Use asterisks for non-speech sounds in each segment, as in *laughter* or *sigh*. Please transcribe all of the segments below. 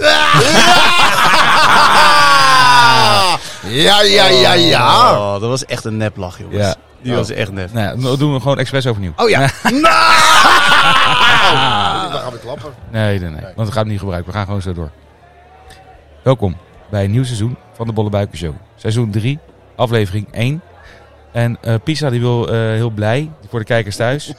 Ah. Ja, ja, ja, ja. Oh, dat was echt een neplach, jongens. Ja. Die was echt nep. Nou, dan doen we gewoon expres overnieuw. Oh ja. Nou! Dan gaan we klappen. Nee, nee, nee. Want dat gaat niet gebruiken. We gaan gewoon zo door. Welkom bij een nieuw seizoen van de Bolle Buiken Show. Seizoen 3, aflevering 1. En eh, Pisa die wil eh, heel blij voor de kijkers thuis.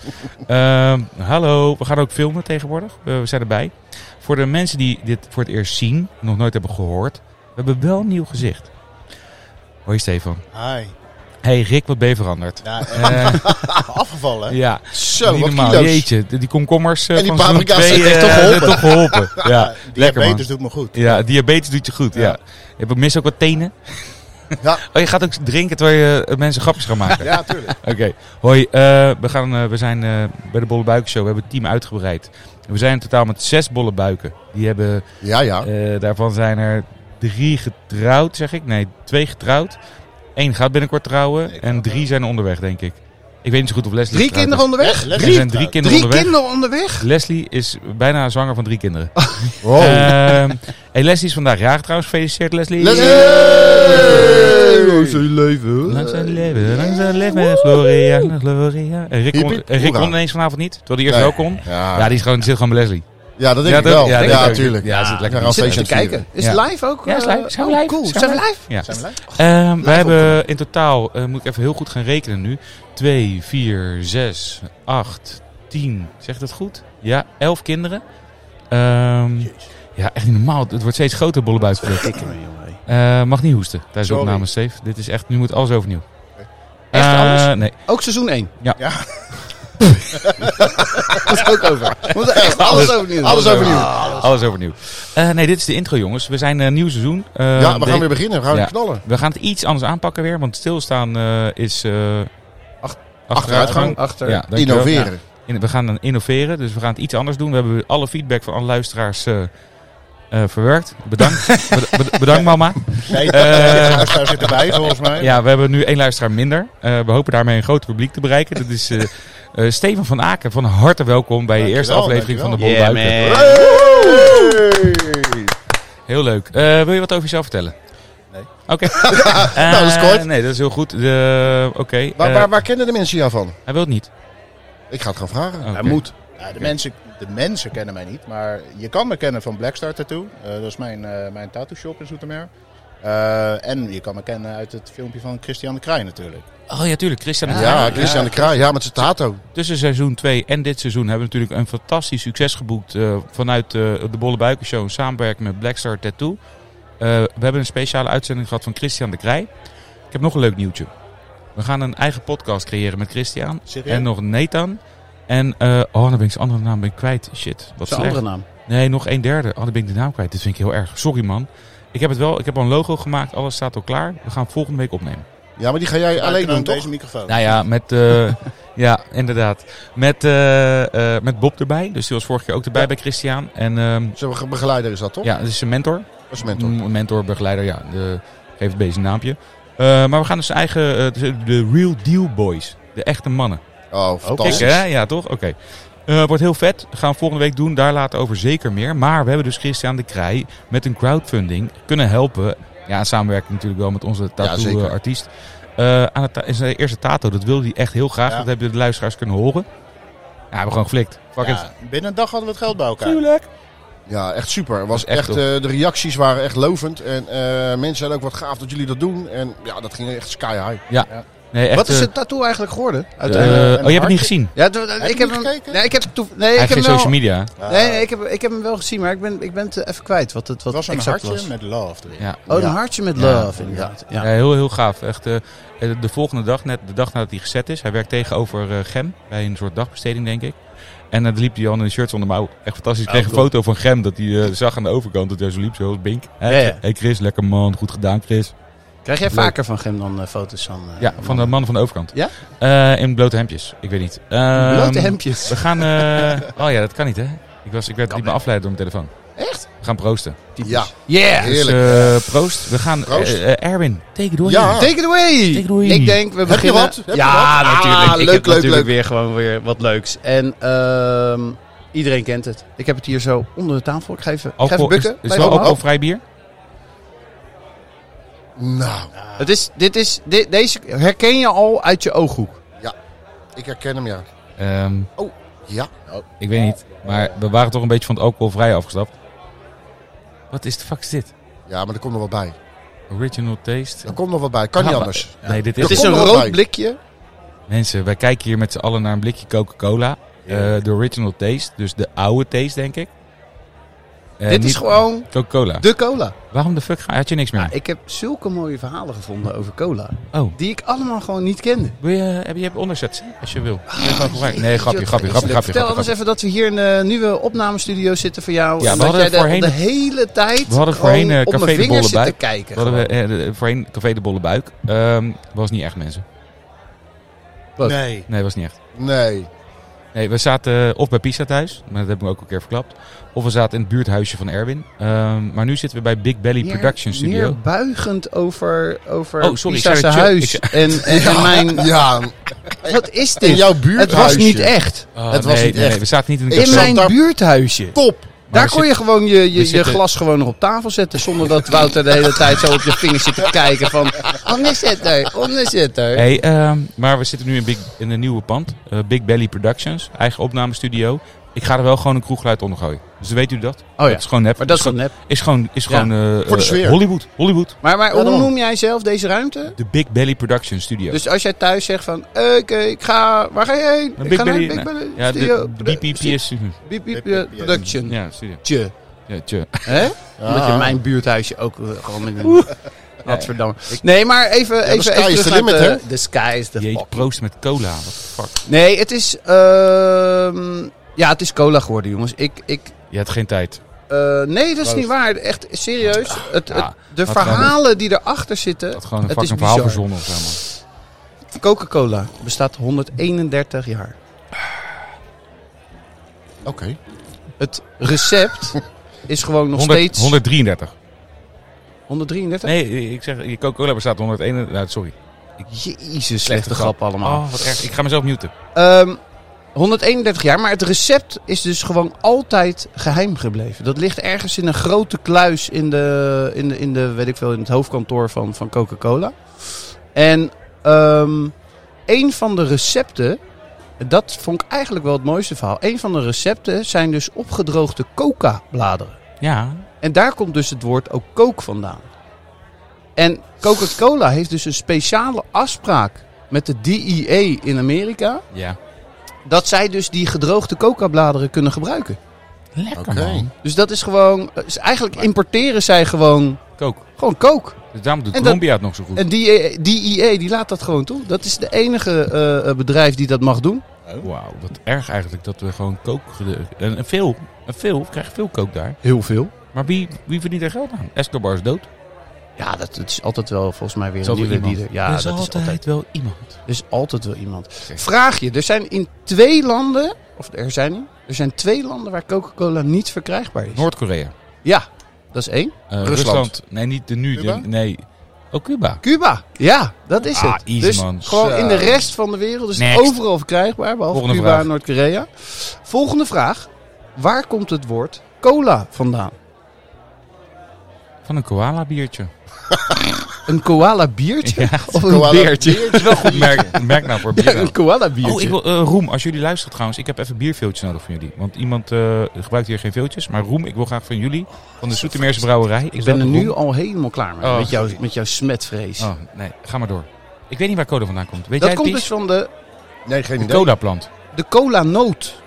Ehm, hallo, we gaan ook filmen tegenwoordig. Eh, we zijn erbij. Voor de mensen die dit voor het eerst zien, nog nooit hebben gehoord. We hebben wel een nieuw gezicht. Hoi Stefan. Hi. Hey Rick, wat ben je veranderd? Ja, Eh, *laughs* afgevallen. hè? ja, Zo, niet wat normaal. kilo's. Jeetje, die komkommers eh, En die van seizoen paprika's twee, *laughs* heeft eh, toch geholpen? hebben *laughs* toch geholpen. *laughs* Ja, Ja, lekker man. Diabetes doet me goed. Ja, diabetes doet je goed. Ja. Ja. Je hebt- mist ook wat tenen. Ja. *laughs* Oh, je gaat ook drinken terwijl je eh, mensen grapjes gaat maken. *laughs* Ja, tuurlijk. *laughs* Oké. Hoi, eh, we, gaan, eh, we zijn eh, bij de Bolle Buiken Show. We hebben het team uitgebreid. We zijn in totaal met zes bolle buiken. Die hebben, Ja, ja. eh, daarvan zijn er drie getrouwd, zeg ik. Nee, twee getrouwd. Eén gaat binnenkort trouwen. Nee, ik en ga- drie zijn onderweg, denk ik. Ik weet niet zo goed of Leslie Drie getrouwd kinderen onderweg? is. Lekker. Er zijn drie kinderen Drie onderweg. kinderen onderweg? Leslie is bijna zwanger van drie *laughs* kinderen. Wow. Ehm, hey, Leslie is vandaag jarig trouwens. Gefeliciteerd, Leslie. Leslie! Hey! Hoe is je leven? Langs het leven, langs het leven, Gloria, Gloria. En Rick Hiep, kon, hiep, en Rick hoera. kon ineens vanavond niet, terwijl hij eerst Nee. Ah. wel kon. Ja, Ja, die, is gewoon, die zit gewoon bij Leslie. ja, dat denk ja, ik dat- wel. ja, Ja, denk ik ook. tuurlijk. Ja, zit lekker. Ja, als Zit feestje te aan het kijken. Is het Ja. live ook? Ja, is live. Zijn we Oh, live? Cool. Zijn we Zijn we live? Ja. Zijn we live? Ehm, wij hebben opgenomen. in totaal, eh, moet ik even heel goed gaan rekenen nu, 2, 4, 6, 8, 10, zeg ik dat goed? Ja, 11 kinderen. Ehm, ja, echt niet normaal. Het wordt steeds groter, bollebuitverlucht. Kikker me, jongen. hé. Eh mag niet hoesten tijdens de Sorry. opname, Steve. Dit is echt, nu moet alles overnieuw. Echt Eh, alles? Nee. Ook seizoen 1. Dat is ook over. *laughs* We moeten echt alles overnieuw. Alles overnieuw. Alles overnieuw. Eh, nee, dit is de intro, jongens. We zijn eh, nieuw seizoen. Eh, Ja, we de- gaan weer beginnen. We gaan Ja. weer knallen. we gaan het iets anders aanpakken weer, want stilstaan eh, is eh, Ach- achteruitgang. Achter. Ja, dankjewel. Innoveren. Ja, in- we gaan dan innoveren, dus we gaan het iets anders doen. We hebben alle feedback van alle luisteraars eh, eh, verwerkt. *laughs* Bedankt. Bed- bed- bedankt, mama. Nee, Eh, de luisteraar zit erbij volgens mij. Ja, we hebben nu één luisteraar minder. Eh, we hopen daarmee een groot publiek te bereiken. Dat *laughs* is eh eh, Steven van Aken. Van harte welkom bij de Dankjewel, eerste aflevering van de Bolle Yeah, Buiken. Eh, man. Hey! Heel leuk. Eh, wil je wat over jezelf vertellen? Nee. *laughs* Nou, Oké. dat is Eh, kort. nee, dat is heel goed. De- Oké. Waar, eh, waar, waar kennen de mensen jou van? Hij wil het niet. Ik ga het gaan vragen. Oké. Hij moet. Ja, de Oké. mensen, de mensen kennen mij niet, maar je kan me kennen van Blackstar Tattoo. Eh, dat is mijn, eh, mijn tattoo shop in Zoetermeer. Eh, en je kan me kennen uit het filmpje van Christian de Kraai natuurlijk. Oh ja, tuurlijk. Christian de Graaf. Ja, Christian de Kraai. Ja, met zijn tato. Tussen seizoen 2 en dit seizoen hebben we natuurlijk een fantastisch succes geboekt eh, vanuit eh, de Bolle Buiken Show. in Samenwerking met Blackstar Tattoo. Eh, we hebben een speciale uitzending gehad van Christian de Krij. Ik heb nog een leuk nieuwtje. We gaan een eigen podcast creëren met Christian. Serieus? En nog Nathan. En, eh, oh, dan ben ik zijn andere naam ben ik kwijt. Shit, wat Zijn slecht. andere naam. Nee, nog een derde. Oh, dan ben ik de naam kwijt. Dit vind ik heel erg. Sorry, man. Ik heb het wel. Ik heb al een logo gemaakt. Alles staat al klaar. We gaan volgende week opnemen. Ja, maar die ga jij alleen doen, toch? deze microfoon. Nou ja, met... eh, ja, inderdaad. Met, eh, eh, met Bob erbij. Dus die was vorige keer ook erbij bij Christian. En ehm, Zijn begeleider is dat, toch? ja, Mm. dat is zijn mentor. Dat is mentor. M- mentor, begeleider. Ja, de, geef het beest een naampje. Eh, maar we gaan dus eigen... eh, de- de Real Deal Boys. De echte mannen. Oh, fantastisch. Kijk, hè? Ja, toch? Oké. Eh, wordt heel vet. Gaan we volgende week doen. Daar later over zeker meer. Maar we hebben dus Christian de Krij met een crowdfunding kunnen helpen. Ja, in samenwerking natuurlijk wel met onze zeker. tattoo-artiest. Eh, aan het ta- in zijn eerste tato. Dat wilde hij echt heel graag. Ja. Dat hebben de luisteraars kunnen horen. Ja, we hebben gewoon geflikt. Fuck it. Ja, binnen een dag hadden we het geld bij elkaar. Tuurlijk. Ja, echt super. Het Was Dat is echt, echt eh, de reacties waren echt lovend. En eh, mensen zeiden ook wat gaaf dat jullie dat doen. En ja, dat ging echt sky high. Nee, echt, Wat is eh, het tattoo eigenlijk geworden? eh, Uiteindelijk oh, je hebt het niet gezien. Ja, d- d- je ik heb niet hem. gekeken? Nee, ik heb toe, nee, Hij ik heb nou- geen hem wel, social media. Nee, nee, ik heb, ik heb hem wel gezien, maar ik ben, ik ben het even kwijt wat het wat was een exact hartje was. met love erin. Ja. Oh, een Ja. hartje met Ja. love inderdaad. Ja. Ja, heel, heel gaaf. Echt, eh, eh, de volgende dag, net de dag nadat hij gezet is. Hij werkt tegenover eh, Gem. Bij een soort dagbesteding, denk ik. En dan liep hij al in een shirt onder mouw. Echt fantastisch. Ik kreeg een foto van Gem dat hij eh, zag aan de overkant. Dat hij zo liep, zoals Bink. Hé Ja, ja. hey Chris, lekker man. Goed gedaan, Chris. Krijg jij Leuk. vaker van Gem dan eh, foto's van... eh, Ja, van de man van de overkant. Ja? Eh, in blote hemdjes. Ik weet niet. Ehm, Blote hemdjes. We gaan... eh, *laughs* oh ja, dat kan niet, hè? Ik, was, ik werd Kan niet meer niet. afgeleid door mijn telefoon. Echt? We gaan proosten. Ja, Yeah! Dus heerlijk. eh, proost. We gaan... Proost. eh, eh, Erwin, take it away. Ja. Take it away! Take it away. Ik denk, we Heb je beginnen... wat? Heb je ja, wat? natuurlijk. Ah, ik leuk, heb leuk, natuurlijk leuk. weer gewoon weer wat leuks. En ehm, iedereen kent het. Ik heb het hier zo onder de tafel. Ik ga even, ik ga even Alcohol, is, bukken. is Blijf wel allemaal. alcoholvrij bier? Nou, Het is, dit is, dit, deze herken je al uit je ooghoek. ik herken hem ja. Ehm, Ja. ik weet niet, maar we waren toch een beetje van het alcoholvrij afgestapt. Wat is de fuck is dit? Ja, maar er komt nog wat bij. Original taste? Er komt nog wat bij. Kan Ja, niet maar- anders. Nee, dit Er Het is... is komt een nog wat bij. rood blikje. Mensen, wij kijken hier met z'n allen naar een blikje Coca-Cola. Eh, de original taste, dus de oude taste, denk ik. Eh, dit is niet- gewoon Coca-cola. de cola. Waarom de Ah, fuck ga- had je niks meer? Ja, ik heb zulke mooie verhalen gevonden over cola. Oh. Die ik allemaal gewoon niet kende. Wil je, eh, heb je, je hebt onderzet, als je wil. Nee, gewoon gebruiken. nee, grapje, Jeetje, grapje, grapje, wat grapje, vreselijk. grapje, Vertel anders grapje. even dat we hier in een nieuwe opnamestudio zitten voor jou. Ja, en we dat hadden jij daar voorheen- de hele tijd we hadden gewoon voorheen, eh, op Café mijn de vingers Bolle zitten kijken. We hadden eh, eh, voorheen Café de Bolle Buik. Ehm, was niet echt, mensen. Wat? Nee. Nee, was niet echt. Nee. Nee, we zaten eh, of bij Pisa thuis, maar dat heb ik ook een keer verklapt. Of we zaten in het buurthuisje van Erwin. Ehm, maar nu zitten we bij Big Belly Meer- Production Studio. Meer buigend over, over Oh, sorry, Pisa's ik zei het, huis. En, *laughs* en, en mijn... Ja, Wat is dit? in jouw het buurthuisje. was niet echt. Oh, Het nee, was niet nee, nee, echt. we zaten niet in de Ik In zat mijn daar- buurthuisje. Top. Daar kon je gewoon je, je, je zitten- glas gewoon nog op tafel zetten. Zonder dat Wouter de hele tijd zo op je vingers zit te kijken. Van, onderzetter, onderzetter. Hey, ehm, maar we zitten nu in, Big, in een nieuwe pand. eh, Big Belly Productions, eigen opnamestudio. Ik ga er wel gewoon een kroegluid onder gooien. Dus dan weet u dat. Oh ja, Dat is gewoon nep. maar dat is gewoon nep. Is gewoon, is Ja. gewoon eh, Voor de eh, sfeer. Hollywood. Hollywood. Maar, maar Ja, hoe daarom. noem jij zelf deze ruimte? De Big Belly Production Studio. Dus als jij thuis zegt van, oké, ik ga, waar ga je heen? Een ik Big ga Belly- naar Big nee. Belly ja, de Studio. BPP is... Beep, beep, BPP, eh, Production. Ja, studio. Tje. Ja, tje. Hè? Omdat je Ja. mijn buurthuisje ook eh, gewoon met *laughs* een... Gadverdamme. Nee, maar even, even, sky even is terug the naar limit, de- hè? The sky is the Jeetje, fuck. proost met cola. What the fuck. Nee, het is, ehm, ja, het is cola geworden, jongens. Ik, ik, Je hebt geen tijd. eh, nee, dat is niet waar. Echt, serieus. Het, het, Ah, Ja, de wat gaan we- verhalen die erachter zitten, Dat gewoon een het is fucking verhaal bizar. verzonnen of zo, man. Coca-Cola bestaat 131 jaar. Oké. Het recept is gewoon nog 100 steeds 133. 133. Nee, ik zeg, je Coca-Cola bestaat 101. Nou, sorry. Jezus, slechte grap allemaal. Oh, wat erg. Ik ga mezelf muten. Ehm, 131 jaar, maar het recept is dus gewoon altijd geheim gebleven. Dat ligt ergens in een grote kluis in de, in de, in de weet ik veel, in het hoofdkantoor van, van Coca-Cola. En ehm een van de recepten, dat vond ik eigenlijk wel het mooiste verhaal. Een van de recepten zijn dus opgedroogde coca-bladeren. Ja. En daar komt dus het woord ook kook vandaan. En Coca-Cola heeft dus een speciale afspraak met de DEA in Amerika. Ja. Dat zij dus die gedroogde coca-bladeren kunnen gebruiken. Lekker, Oké. man. Dus dat is gewoon. is Eigenlijk importeren zij gewoon. Coke. Gewoon kook. Dus daarom doet En dat- Colombia het nog zo goed. En E DEA, DEA die laat dat gewoon toe. Dat is de enige eh, bedrijf die dat mag doen. Oh, Wauw, wat erg eigenlijk dat we gewoon Coke... gede- En en veel. En veel. We krijgen veel Coke daar. Heel veel. Maar wie, wie verdient er geld aan? Escobar is dood. Ja, dat, dat is altijd wel volgens mij weer Is een altijd nieuwe iemand. leader. Ja, er is dat altijd, is altijd wel iemand. Er is altijd wel iemand. Vraag je, er zijn in twee landen, of er zijn, er zijn twee landen waar Coca-Cola niet verkrijgbaar is. Noord-Korea. Ja, dat is één. Eh, Rusland. Rusland. Nee, niet de nu. de- Cuba? nee. Ook Cuba. Cuba, ja, dat is Ah, het. easy, dus man. gewoon Zo. in de rest van de wereld is Next. het overal verkrijgbaar, behalve Volgende Cuba vraag. en Noord-Korea. Volgende vraag. Waar komt het woord cola vandaan? Van een koala biertje. Een koala biertje? *laughs* Ja, of een koala beertje? Dat is wel *laughs* goed merk, merk nou voor bier. *laughs* Ja, een koala biertje. Oh, ik wil, eh, Roem, als jullie luisteren trouwens, ik heb even bierveeltjes nodig van jullie. Want iemand eh, gebruikt hier geen veeltjes. Maar Roem, ik wil graag van jullie, van de Soetermeerse Brouwerij. Ik ben er nu Roem. al helemaal klaar mee, Oh. met, jouw, met jouw smetvrees. Oh, nee, ga maar door. Ik weet niet waar cola vandaan komt. Weet dat jij komt Ties? dus van de, Nee, geen De idee. cola-plant. de cola-noot.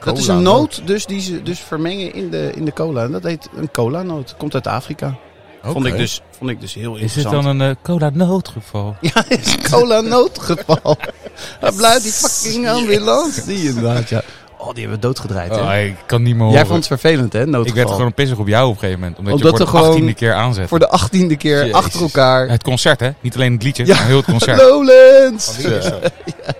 Dat is een Cola, noot dus die ze dus vermengen in de, in de cola. En dat heet een cola-noot. Komt uit Afrika. Vond, ik Oké. dus, vond ik dus heel Is dit interessant. dan een eh, cola-noodgeval? *laughs* Ja, is een *laughs* cola-noodgeval. Dat blijft die fucking ambulance. Die inderdaad, ja. Oh, die hebben we doodgedraaid, hè? Oh, ik kan niet meer Jij horen. vond het vervelend, hè, noodgeval? Ik werd gewoon pissig op jou op een gegeven moment. Omdat, Omdat je er voor de gewoon- achttiende keer aanzet. Voor de achttiende keer Jezus. achter elkaar. Het concert, hè? Niet alleen het liedje, Ja. maar *laughs* heel het concert. Oh, Lowlands!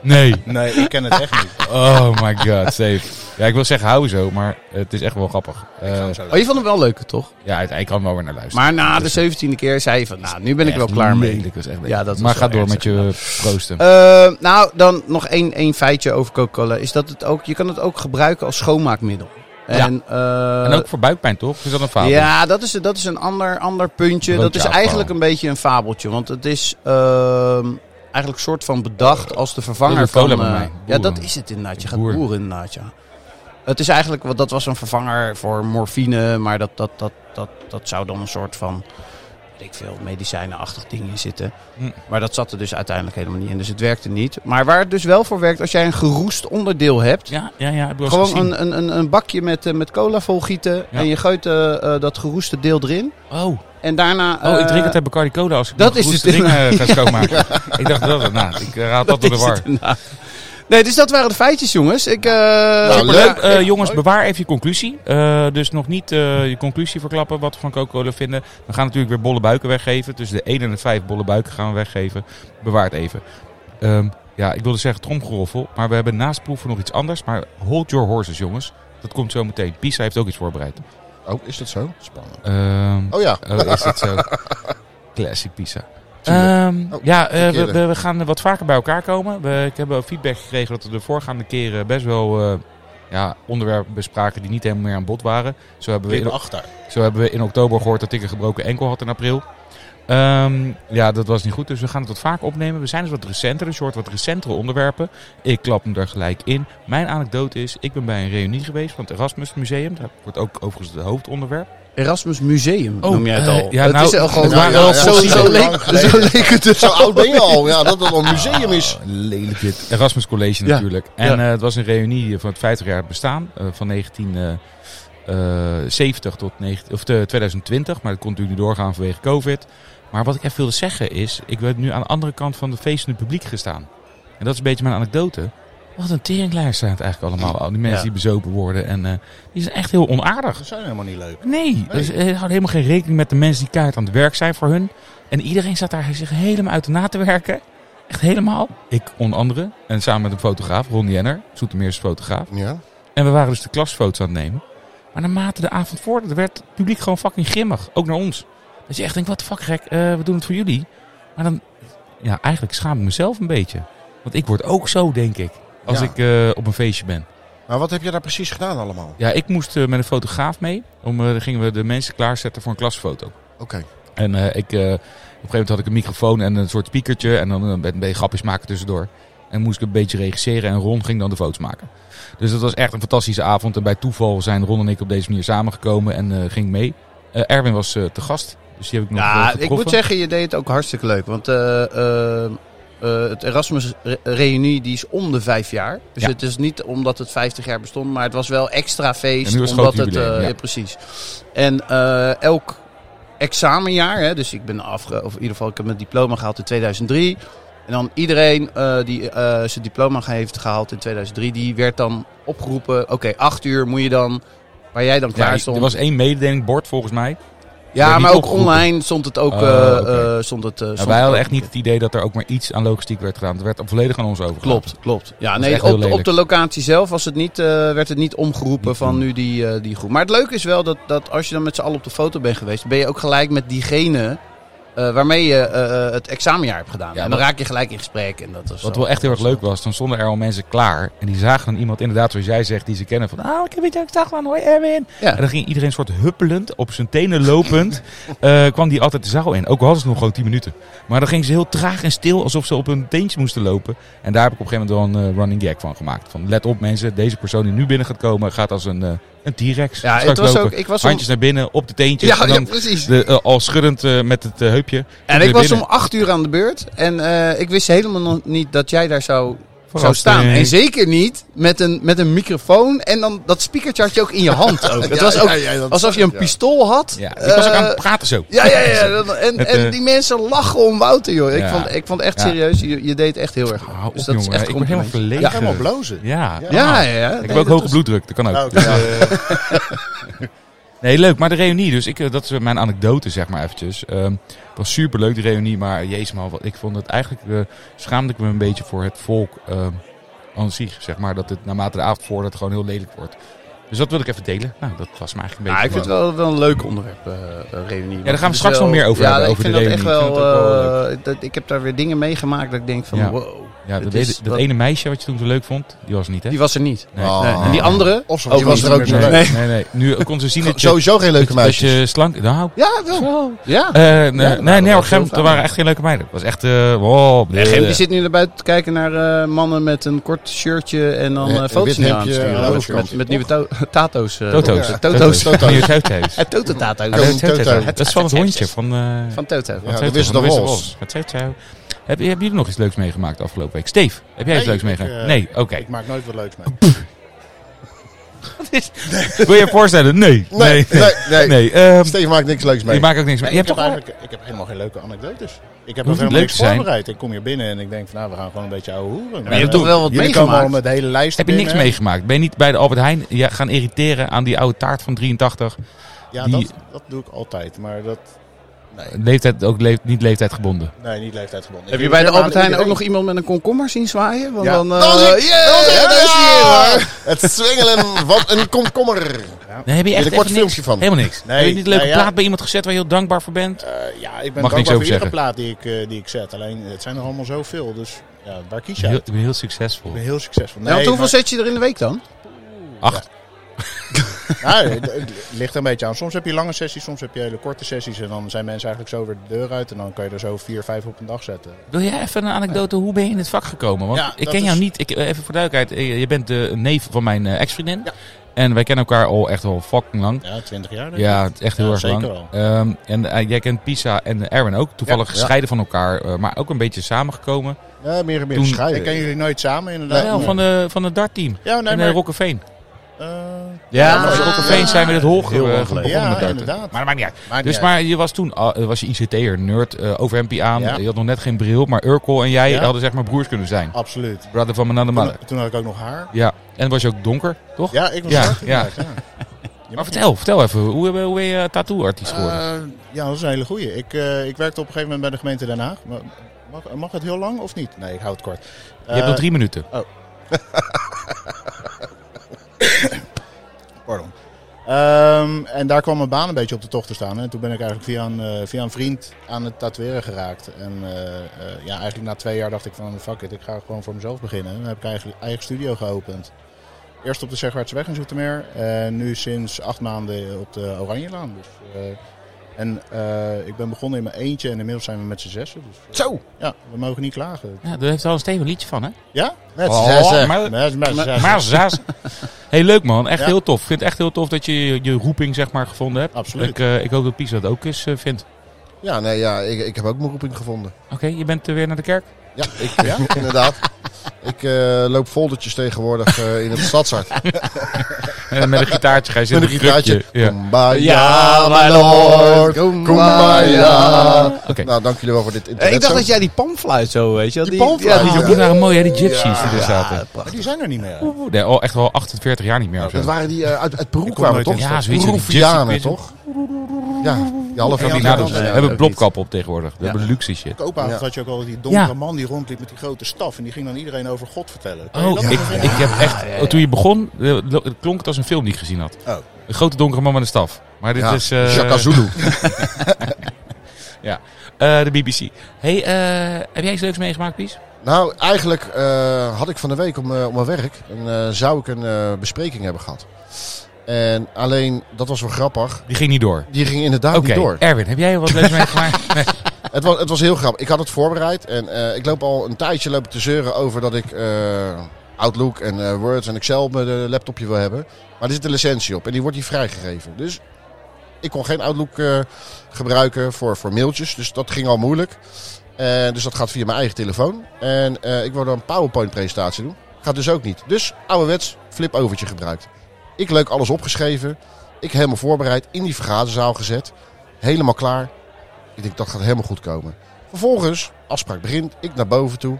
Nee. *laughs* Nee, ik ken het echt niet. Oh my god, safe. Ja, ik wil zeggen hou zo, maar het is echt wel grappig. Eh, Oh, je vond hem wel leuker, toch? ja, uit- ik kan wel weer naar luisteren. Maar na de zeventiende keer zei je van, nou, nu ben ik wel Echt klaar mee. lelijk, was echt lelijk. Ja, dat was maar ga wel door erg, met je proosten. Eh, nou, dan nog één, één feitje over Coca-Cola. Is dat het ook, je kan het ook gebruiken als schoonmaakmiddel. En, eh, En ook voor buikpijn, toch? Is dat een fabel? Ja, dat is, dat is een ander, ander puntje. Dat is Broodje eigenlijk een afval. beetje een fabeltje. Want het is ehm, eigenlijk soort van bedacht als de vervanger Wilde van... kolen bij eh, mij. ja, Boeren. dat is het inderdaad. Je gaat Boeren. boeren inderdaad, ja. Het is eigenlijk, want dat was een vervanger voor morfine. Maar dat, dat, dat, dat, dat zou dan een soort van, weet ik veel, medicijnenachtig ding in zitten. Hm. Maar dat zat er dus uiteindelijk helemaal niet in. Dus het werkte niet. Maar waar het dus wel voor werkt, als jij een geroest onderdeel hebt... ja, ja. ja heb ik wel eens Gewoon gezien. een, een, een, een bakje met, eh, met cola volgieten. Ja. En je gooit eh, eh, dat geroeste deel erin. Oh, En daarna. oh ik eh, drink het bij Bacardi Cola als ik dat mijn is geroeste het dingen *laughs* eh, ga schoonmaken. Ik dacht dat, nou, ik eh, raad dat, door de is war. het inderdaad. Nee, dus dat waren de feitjes, jongens. Ik, eh, Nou, maar- leuk. Eh, jongens, bewaar even je conclusie. Eh, dus nog niet eh, je conclusie verklappen wat we van Coca-Cola vinden. We gaan natuurlijk weer bolle buiken weggeven. Tussen de 1 en de 5 bolle buiken gaan we weggeven. Bewaar het even. Ehm, ja, ik wilde zeggen tromgeroffel. Maar we hebben naast proeven nog iets anders. Maar hold your horses, jongens. Dat komt zo meteen. Pisa heeft ook iets voorbereid. Oh, is dat zo? Spannend. Ehm, Oh ja. oh, is dat *laughs* zo? Classic Pisa. Tuurlijk. Ehm, Oh, ja, eh, we, verkeerde. we, we gaan wat vaker bij elkaar komen. We, ik heb wel feedback gekregen dat we de voorgaande keren best wel eh, ja, onderwerpen bespraken die niet helemaal meer aan bod waren. Zo hebben we, Weer in, achter. zo hebben we in oktober gehoord dat ik een gebroken enkel had in april. Ehm, ja, dat was niet goed, dus we gaan het wat vaker opnemen. We zijn dus wat recenter, een soort wat recentere onderwerpen. Ik klap hem er gelijk in. Mijn anekdote is, ik ben bij een reunie geweest van het Erasmus Museum. Dat wordt ook overigens het hoofdonderwerp. Erasmus Museum Oh, noem jij het al. eh, ja, het nou, is al gewoon. het waren wel zo, fossielen. zo leek, Lang geleden. zo leek het dus Zo oud ben je al. Ja, dat dat al een museum is. Ah, lelijk dit. Erasmus College Ja. natuurlijk. En eh, het was een reunie van het 50 jaar bestaan. eh, van 1970 tot 19, of, eh, 2020. Maar dat kon natuurlijk niet doorgaan vanwege COVID. Maar wat ik even wilde zeggen is... Ik ben nu aan de andere kant van de feestende publiek gestaan. En dat is een beetje mijn anekdote. Wat een teringlijst zijn het eigenlijk allemaal. Al die mensen Ja. die bezopen worden. En eh, die zijn echt heel onaardig. *laughs* Dat zijn helemaal niet leuk. Nee, dus, eh, houden helemaal geen rekening met de mensen die kaart aan het werk zijn voor hun. En iedereen zat daar zich helemaal uit de na te werken. Echt helemaal. Ik onder andere. En samen met een fotograaf, Ron Jenner. Zoetermeerse fotograaf. Ja. En we waren dus de klasfoto's aan het nemen. Maar naarmate de avond vorderde, werd het publiek gewoon fucking grimmig. Ook naar ons. Dat je echt denkt, wat de fuck gek, eh, we doen het voor jullie. Maar dan, ja, eigenlijk schaam ik mezelf een beetje. Want ik word ook zo, denk ik. Als Ja. ik eh, op een feestje ben. Maar wat heb je daar precies gedaan allemaal? Ja, ik moest eh, met een fotograaf mee. Om, eh, dan gingen we de mensen klaarzetten voor een klasfoto. Oké. En eh, ik, eh, op een gegeven moment had ik een microfoon en een soort speakertje. En dan eh, een beetje grapjes maken tussendoor. En moest ik een beetje regisseren. En Ron ging dan de foto's maken. Dus dat was echt een fantastische avond. En bij toeval zijn Ron en ik op deze manier samengekomen. En eh, ging ik mee. Eh, Erwin was eh, te gast. Dus die heb ik nog eh, Ja, ik getroffen. moet zeggen, je deed het ook hartstikke leuk. Want eh, eh, eh, het Erasmus-reunie die is om de vijf jaar. Dus Ja. het is niet omdat het 50 jaar bestond, maar het was wel extra feest. En nu is het omdat groot het, jubileum, eh, ja. ja, Precies. En eh, elk examenjaar, hè, dus ik ben afge... Of in ieder geval, ik heb mijn diploma gehaald in 2003. En dan iedereen eh, die eh, zijn diploma ge- heeft gehaald in 2003, die werd dan opgeroepen. Oké, acht uur moet je dan, waar jij dan klaar Ja, stond. er was één mededelingbord volgens mij. Nou, Ja, Werd maar niet ook opgeroepen. online stond het ook. Oh, eh, eh, oké. stond het, eh, stond Nou, wij het hadden ook. echt niet het idee dat er ook maar iets aan logistiek werd gedaan. Het werd volledig aan ons overgelaten. Klopt, klopt. Ja, is nee, echt heel op, de- op lelijk. de locatie zelf was het niet, eh, werd het niet omgeroepen Niet van doen. nu die, eh, die groep. Maar het leuke is wel dat, dat als je dan met z'n allen op de foto bent geweest, ben je ook gelijk met diegene eh, waarmee je eh, eh, het examenjaar hebt gedaan. Ja, en dan wat- raak je gelijk in gesprek. En dat was Wat zo. wel echt heel erg leuk was, dan stonden er al mensen klaar. En die zagen dan iemand, inderdaad zoals jij zegt, die ze kennen. Van, ah, ik heb iets dag man, hoi Erwin. Ja. En dan ging iedereen soort huppelend, op zijn tenen *laughs* lopend, eh, kwam die altijd de zaal in. Ook al hadden ze nog gewoon 10 minuten. Maar dan gingen ze heel traag en stil, alsof ze op hun teentjes moesten lopen. En daar heb ik op een gegeven moment wel een eh, running gag van gemaakt. Van, let op mensen, deze persoon die nu binnen gaat komen, gaat als een, eh, een T-rex Ja, het straks was lopen. ook, ik was om, Handjes naar binnen, op de teentjes. *laughs* ja, en ja, dan precies. de, eh, al schuddend eh, met het eh, heupje. En weer ik was binnen. om acht uur aan de beurt. En eh, ik wist helemaal nog niet dat jij daar zou, zou Verrassing. staan. En zeker niet met een, met een microfoon. En dan dat speakertje had je ook in je hand. *laughs* Ook. Het was ook alsof je een pistool had. Ja, ik was ook aan Eh, het praten zo. ja, ja, ja. dat- En, Het, en eh, die mensen lachen om Wouter, joh. Ik, Ja. vond, ik vond echt Ja. serieus, je, je deed echt heel erg goed. Hou op, Dus dat is jongen. echt ik ben helemaal compliment. verlegen. Ja, helemaal blozen. Ja. Ja. Ja, ja, ja. Ik Nee, heb ook dat Oh, hoge bloeddruk, dat kan ook. Nou, Dus, ja. eh, nee, leuk. Maar de reunie, dus ik, eh, dat is mijn anekdote, zeg maar eventjes. Ehm, het was super leuk, de reunie. Maar jezus man, wat, ik vond het eigenlijk... eh, schaamde ik me een beetje voor het volk ehm aan zich, zeg maar. Dat het naarmate de avond voordat het gewoon heel lelijk wordt. Dus dat wil ik even delen. Nou, dat was me eigenlijk een Ja, ik beetje... vind het wel, wel een leuk onderwerp, eh, eh, reunie. Want daar gaan we het is straks wel- nog meer over ja, hebben, ik over vind de dat reunie. echt Ik wel... vind het ook wel eh, eh, dat, ik heb daar weer dingen meegemaakt dat ik denk van, Ja. wow. Ja, Het dat, is weet- dat wat- ene meisje wat je toen zo leuk vond, die was er niet, hè? Die Oh, was er niet. Nee. Ah. Nee. En die andere? Of ze Die was er ook nee, niet. nee, nee, Nu eh, kon ze zien dat je, Sowieso geen leuke dat meisjes. je slank... Nou, *laughs* Ja, wel. zo. Ja. Eh, nee, waren nee, wel nee, veel op Gem, er vrouwen. waren echt geen leuke meiden. Het was echt... eh wow, Nee, Gem, bleh. die zit nu naar buiten te kijken naar eh, mannen met een kort shirtje en dan Ja, eh een foto's wit in hemdje aan de Met, overkant. met, met nieuwe to- *laughs* tato's. eh, Toto's. Ja, Toto's. Toto's. Toto's. Nieuwe Toto's. Eh, Toto-tato's. Ah, nee, Toto's. Toto's. Het- Dat is van het hondje van... eh, Van Toto. Ja, Wat de zei- Wizard of de Oz. Wizard of Oz. Wat zei ze? Heb, hebben jullie nog iets leuks meegemaakt de afgelopen week? Steve, heb jij iets Nee, leuks ik, meegemaakt? eh, nee, oké. Ik maak nooit wat leuks mee. Wil je je voorstellen? Nee. *laughs* Nee, nee, nee. *laughs* Nee, ehm, Steven maakt niks leuks mee. je maakt ook niks mee. Nee, Je hebt ik, toch heb eigenlijk... eigenlijk, ik heb helemaal geen leuke anekdotes. niet Ik heb nog helemaal leuk niks te zijn. voorbereid. Ik kom hier binnen en ik denk van nou, we gaan gewoon een beetje ouwe hoeren. je hebt toch wel wat Jullie meegemaakt? komen al met de hele lijst Heb je niks binnen. meegemaakt? Ben je niet bij de Albert Heijn ja, gaan irriteren aan die oude taart van 83? Ja, Die- dat, dat doe ik altijd. Maar dat... Nee, Leeftijd, ook leef- niet leeftijdgebonden. nee niet leeftijdgebonden. Heb Ik je bij de irriteer me Albert Heijn aan ook nog iemand met een komkommer zien zwaaien? Want Ja. dan, eh, Dat was ik! yeah, Dat was ik! daar is hij weer, Ja! hoor. Het zwengelen van een komkommer. Nee, heb je Wil echt je Nou, een kort even niks? filmpje van? Helemaal niks. Nee, heb je niet een leuke nou ja. plaat bij iemand gezet waar je heel dankbaar voor bent? iedereen. Eh, ja, ik ben Mag Mag niks over dankbaar voor iedere zeggen. plaat die ik, eh, die ik zet. Alleen, het zijn er allemaal zoveel. Dus ja, waar kies je Heel- uit? ik ben heel succesvol. Ik ben heel succesvol. Ja, Nou, want Nee, hoeveel maar- zet je er in de week dan? Acht. Nou, het- het ligt er een beetje aan. Soms heb je lange sessies, soms heb je hele korte sessies. En dan zijn mensen eigenlijk zo weer de deur uit. En dan kan je er zo vier, vijf op een dag zetten. Wil jij even een anekdote? Hoe ben je in het vak gekomen? Want Ja, ik dat ken jou is- niet. Ik, eh, even voor duidelijkheid. eh, Je bent de neef van mijn eh, ex-vriendin. Ja. En wij kennen elkaar al echt al fucking lang. Ja, twintig jaar. denk ik. Ja, het is echt heel Ja, erg zeker lang. wel. Ehm, en eh, jij kent Pisa en Erwin ook. Toevallig Ja, ja. gescheiden van elkaar. eh, maar ook een beetje samengekomen. Ja, meer en meer Toen- scheiden. Ik ken jullie nooit samen, inderdaad. Wel, van, de, van Dus het dartteam. Ja, Nou, nee, en maar... eh, Rokkeveen. eh, Ja, Vanaf Rokkeveen zijn we het hol ge- Heel lang eh, geleden. begonnen Ja, met darten. inderdaad. Maar dat maakt niet uit. maakt Dus niet uit. maar je was toen al- eh, was je ICT'er, nerd, eh overhempje aan. Ja. Je had nog net geen bril. Maar Urkel en jij Ja. hadden zeg maar broers kunnen zijn. Absoluut. Brother van Mananda Mother. Toen, toen had ik ook nog haar. Ja, en was je ook donker, toch? Ja, ik was Ja, zwart ja. inderdaad, *laughs* ja. Je Maar mag niet- vertel, vertel even, hoe, hoe, hoe ben je tattoo-artiest geworden? Eh, ja, dat is een hele goeie. Ik, eh, ik werkte op een gegeven moment bij de gemeente Den Haag. Maar Mag, mag het heel lang of niet? Nee, ik hou het kort. je hebt eh, nog drie minuten. Pardon. Ehm, en daar kwam mijn baan een beetje op de tocht te staan. En toen ben ik eigenlijk via een, eh, via een vriend aan het tatoeëren geraakt. En eh, eh, ja, eigenlijk na twee jaar dacht ik van fuck it, ik ga gewoon voor mezelf beginnen. En dan heb ik eigenlijk eigen studio geopend. Eerst op de Zegwaartseweg in Zoetermeer. En nu sinds acht maanden op de Oranjelaan. Dus, eh, en eh, ik ben begonnen in mijn eentje en inmiddels zijn we met z'n zessen. Dus, eh, Zo! ja, we mogen niet klagen. Ja, daar heeft al een stevig liedje van, hè? Ja? Met Oh, zessen. maar, Met, met z'n zessen. *laughs* maar zaas. Hey, leuk man. Echt Ja. heel tof. Ik vind het echt heel tof dat je je- je roeping zeg maar gevonden hebt. Absoluut. Ik, eh, ik hoop dat Pisa dat ook eens eh, vindt. Ja, nee, ja, ik, ik heb ook mijn roeping gevonden. Oké, je bent eh, weer naar de kerk? Ja, ik, *laughs* inderdaad. Ik eh, loop foldertjes tegenwoordig eh, in het stadsart. Eh, met een gitaartje ga je Met zitten. een gitaartje. krukje. Ja. Kumbaya, my lord. Kumbaya. Oké. Nou, dank jullie wel voor dit Eh, internet. ik dacht dat jij die pamfluit zo, weet je wel. Die palmfluit, Ja, Oh, Die die, ja. ook waren mooi, hè? Die gypsies die er zaten. Maar die zijn er niet meer. Oeh, nee, al, echt wel 48 jaar niet meer. of zo. Dat waren die eh, uit, uit Peru Ik kom kwamen, nooit toch? in de stad. Ja, zoiets, die Peruvianen, gypsy- toch? Ja, die halve Van die Ja, nadoen. ja, We ja, hebben ook blopkap op tegenwoordig. We hebben luxe shit. Koopavond Ja. had je ook al die donkere Ja. man die rondliep met die grote staf. En die ging dan iedereen over God vertellen. Kan je Oh, dat ik, nog ik heb echt... Toen je begon, eh, lo- het klonk het als een film die ik gezien had. Oh. Een grote donkere man met een staf. Maar dit Ja, is... eh, Shaka *laughs* Zulu. eh, de BBC. hey, eh, heb jij iets leuks meegemaakt, Pies? Nou, eigenlijk eh, had ik van de week om, eh, om mijn werk en, eh, zou ik een eh, bespreking hebben gehad. En alleen, dat was wel grappig. Die ging niet door. Die ging inderdaad Oké, Ah, niet door. Erwin, heb jij wat leuks meegemaakt? Nee. Het was, het was heel grappig. Ik had het voorbereid. En eh, ik loop al een tijdje loop ik te zeuren over dat ik eh, Outlook en eh, Word en Excel op mijn eh, laptopje wil hebben. Maar er zit een licentie op en die wordt niet vrijgegeven. Dus ik kon geen Outlook eh, gebruiken voor, voor mailtjes. Dus dat ging al moeilijk. En dus dat gaat via mijn eigen telefoon. En eh, ik wil dan een PowerPoint presentatie doen. Gaat dus ook niet. Dus ouderwets flip overtje gebruikt. Ik leuk alles opgeschreven. Ik helemaal voorbereid. In die vergaderzaal gezet. Helemaal klaar. Ik denk dat gaat helemaal goed komen. Vervolgens, afspraak begint, ik naar boven toe.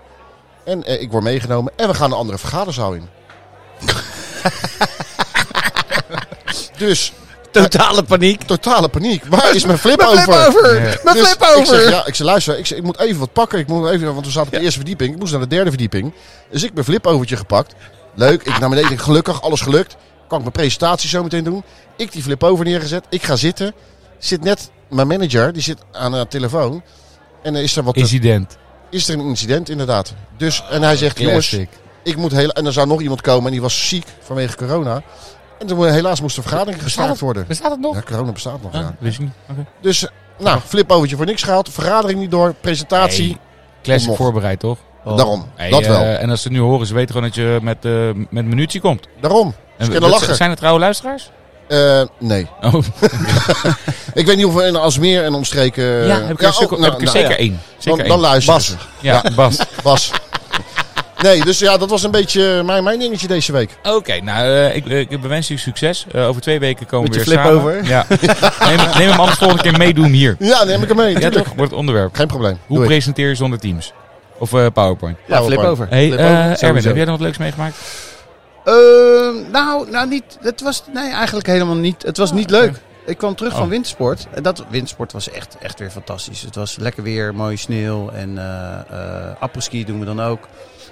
En eh, ik word meegenomen en we gaan de andere *laughs* vergaderzaal in. dus totale paniek. totale paniek. Waar is mijn flip Mijn over? flip over! Ja. Mijn Dus flip over! Ik zeg, ja, ik zeg, luister, ik, zeg, ik moet even wat pakken. Ik moet even, want we zaten op de eerste verdieping. Ik moest naar de derde verdieping. Dus ik mijn flipovertje gepakt. Leuk, ik naar beneden. Gelukkig, alles gelukt. Kan ik mijn presentatie zo meteen doen. Ik die flip over neergezet. Ik ga zitten. Zit net mijn manager, die zit aan haar telefoon. En er is er wat te- Incident. is er een incident inderdaad. Dus, en hij zegt, jongens, Classic. ik moet heel, en er zou nog iemand komen en die was ziek vanwege corona. En toen, eh, helaas moest de vergadering gestaakt worden. Bestaat het nog? Ja, corona bestaat nog, ja. Ja, wist ik niet. Oké. Dus, nou, flipovertje voor niks gehaald. Vergadering niet door, presentatie. Hey, classic Nog. voorbereid, toch? Oh. Daarom, Hey, dat eh, wel. en als ze het nu horen, ze weten gewoon dat je met, eh met munitie komt. Daarom. En Ze we- kunnen dat- lachen. Zijn er trouwe luisteraars? Eh, nee. Oh, Ik weet niet hoeveel in Asmeer en omstreken... ja, heb ik er, oh, zeker- heb nou, ik er nou, zeker één. Zeker dan, één. dan luisteren ze. ja, *laughs* Bas. Bas. *laughs* Nee, dus ja, dat was een beetje eh, mijn, mijn dingetje deze week. Oké, nou, eh, ik, ik bewens u succes. Eh, over twee weken komen we Met weer je samen. flip over. *laughs* Ja. neem, hem- neem hem anders volgende keer meedoen *laughs* hier. Ja, neem ik hem mee. Ja, natuurlijk. toch? Wordt het onderwerp. Geen probleem. Hoe Doe ik. presenteer je zonder Teams? Of eh, PowerPoint? Ja, flip over. Hey, Flip eh, over, Erwin, sowieso. heb jij nog wat leuks meegemaakt? Ehm, nou, nou niet, het was nee, eigenlijk helemaal niet. Het was niet leuk. Ik kwam terug van Ah, Oh. wintersport. En dat wintersport was echt, echt weer fantastisch. Het was lekker weer, mooie sneeuw en eh eh ski doen we dan ook.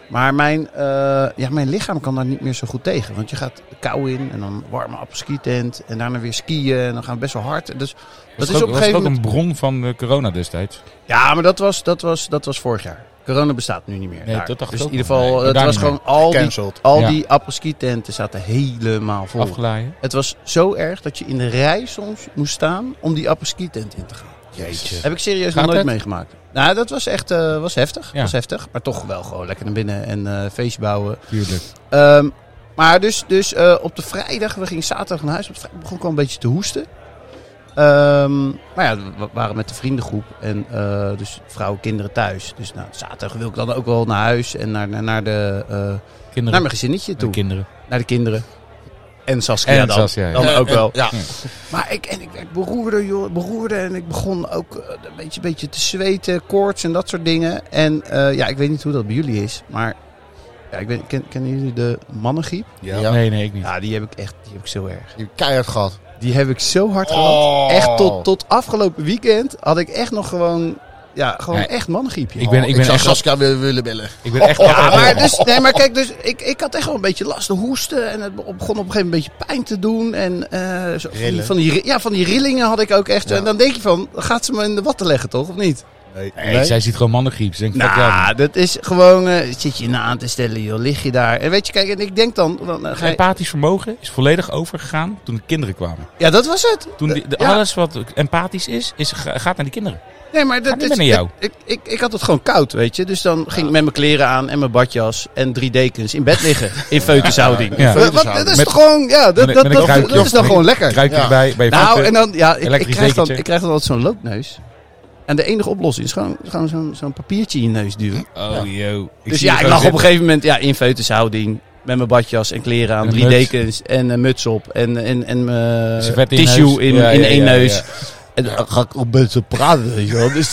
Maar mijn, eh, ja, mijn lichaam kan daar niet meer zo goed tegen. Want je gaat kou in en dan warme ski tent. En daarna weer skiën en dan gaan we best wel hard. En Dus dat ook, is op een was het gegeven ook moment... een bron van eh, corona destijds. Ja, maar dat was, dat, was, dat was vorig jaar. Corona bestaat nu niet meer. Nee, daar. dat dacht ik dus in ook ieder nog. geval, Nee, het daar was niet meer. gewoon al die, Cancelled. al Ja. die ski tenten zaten helemaal vol. Afgeladen. Het was zo erg dat je in de rij soms moest staan om die ski tent in te gaan. Jeetje. Heb ik serieus Gaat nog nooit het? meegemaakt. Nou, dat was echt eh, was heftig. Ja. Was heftig. Maar toch wel gewoon lekker naar binnen en eh, feestje bouwen. Tuurlijk. Ehm, maar dus, dus eh, op de vrijdag, we gingen zaterdag naar huis. Op de vrijdag begon ik al een beetje te hoesten. Ehm, maar ja, we waren met de vriendengroep. En eh, dus vrouwen, kinderen thuis. Dus nou, zaterdag wil ik dan ook wel naar huis en naar, naar, naar de, eh, Kinderen. naar mijn gezinnetje toe. De kinderen. naar de kinderen. En Saskia En dan. Saskia, ja. Dan ook wel. Eh, Ja. Maar ik, en ik werd beroerder, joh. Beroerder. En ik begon ook eh, een beetje, beetje te zweten, koorts en dat soort dingen. En eh, ja, ik weet niet hoe dat bij jullie is. Maar ja, ik weet, ken, kennen jullie de mannengriep? Ja. Nee, nee, ik niet. Ja, die heb ik echt die heb ik zo erg. Die heb ik keihard gehad. Die heb ik zo hard gehad. Oh. Echt tot, tot afgelopen weekend had ik echt nog gewoon, ja, gewoon Nee. echt mannengriepje. Ik ben, ik Ik, ben zou echt... Saskia willen, willen bellen. Ik ben echt... Ja, maar, dus, nee, maar kijk, dus ik, ik had echt wel een beetje last te hoesten. En het begon op een gegeven moment een beetje pijn te doen. En eh, zo, van, die, Rillen. van, die, ri- ja, van die rillingen had ik ook echt. En dan denk je van, gaat ze me in de watten leggen toch, of niet? Nee. Nee, zij ziet gewoon mannengriep. Ze denkt, fuck Nou, jou. dat is gewoon, eh, zit je na aan te stellen, joh, lig je daar. En weet je, kijk, en ik denk dan, dan eh, ga je- Empathisch vermogen is volledig overgegaan toen de kinderen kwamen. ja, dat was het. Toen die- de- Ja. Alles wat empathisch is, is ga- gaat naar die kinderen. Nee, maar dat, Gaat niet dat- meer naar jou. dat- ik, ik, ik had het gewoon koud, weet je. Dus dan ging ik met mijn kleren aan en mijn badjas en drie dekens in bed liggen. In feutushouding. Ja. Wat- wat- Dat is Met- toch gewoon, ja, dat, met- dat, met een dat, kruikje dat is dan of- gewoon lekker. Kruik je Ja. erbij, bij je Nou, voeten. en dan, ja, ik, ik, elektrisch krijg dan, dekentje. ik krijg dan altijd zo'n loopneus. En de enige oplossing is gewoon, gewoon zo'n zo'n papiertje in je neus duwen. Oh, yo. dus ja, ik lag op een gegeven moment ja, in feutushouding. Met mijn badjas en kleren aan, En drie muts. dekens en een muts op. En, en, en mijn Servet in je neus. tissue in, Ja, in ja, één ja, ja. neus. En dan ga ik op mensen praten, weet je wel. Dus,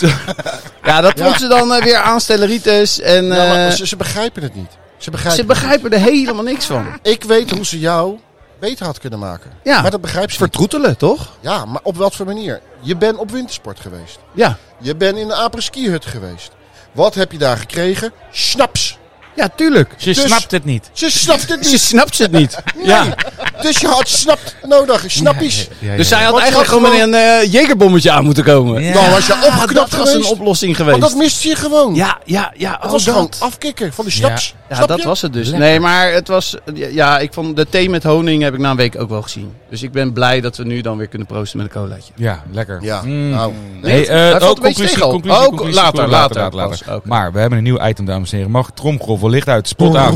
ja, dat vond ze dan eh, weer aanstelleritis. En Ja, maar eh, ze, ze begrijpen het niet. Ze begrijpen ze begrijpen er helemaal niks van. het niet. Ik weet hoe ze jou beter had kunnen maken. Ja. Maar dat begrijpt ze niet. Vertroetelen, toch? Ja, maar op wat voor manier? Je bent op wintersport geweest. Ja. Je bent in de apres-ski-hut geweest. Wat heb je daar gekregen? Snaps. Ja, tuurlijk. Ze Dus- snapt het niet. Ze snapt het Ze niet. snapt het *laughs* niet. Ja. Dus je had snapt nodig. Snappies. Dus zij had Wat eigenlijk was gewoon met een eh, jegerbommetje aan moeten komen. Ja. Dan was je Ah, opgeknapt dat was een geweest. oplossing Want geweest. dat mist je gewoon. ja, ja, ja. Het oh, was dat. gewoon afkicken van de snaps. Ja, Snap dat je? was het dus. Lekker. Nee, maar het was... Ja, ik vond de thee met honing heb ik na een week ook wel gezien. Dus ik ben blij dat we nu dan weer kunnen proosten met een colaatje. Ja, lekker. Ja, Mm. nou. Nee, eh, Hij valt oh, een beetje conclusie, tegen al. conclusie, Oh, conclusie, later, conclusie, later, later, later. pas. Oké. Maar we hebben een nieuw item, dames en heren. Mag tromgroffel licht uit, spot aan.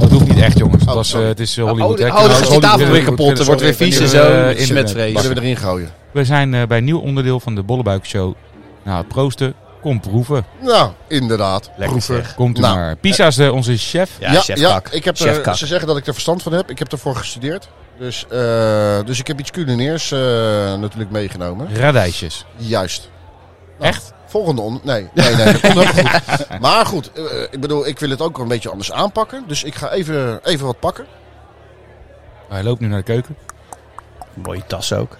Dat hoeft niet echt, jongens. Dat was, eh, sorry. het is eh, Hollywood. oh, hè. oh, dan Nou, gaat die Hollywood- tafel weer kapot. Er Sorry, wordt weer ik ben vies en hier, zo. eh, in- Smetvrees. Zullen we erin gooien? We zijn eh, bij een nieuw onderdeel van de Bollebuik Show. Nou, het proosten. Kom proeven. Nou, inderdaad. Proeven. Komt u Nou. maar. Pisa is eh, onze chef. Ja, chef Kak. ik heb er- Chef Kak. ze zeggen dat ik er verstand van heb. Ik heb ervoor gestudeerd. Dus, eh, dus ik heb iets culinaires eh, natuurlijk meegenomen. Radijsjes. Juist. Echt? Volgende on... Nee, nee, *laughs* nee. Dat komt helemaal goed. Maar goed, eh, ik bedoel, ik wil het ook wel een beetje anders aanpakken. Dus ik ga even, even wat pakken. Hij loopt nu naar de keuken. Mooie tas ook.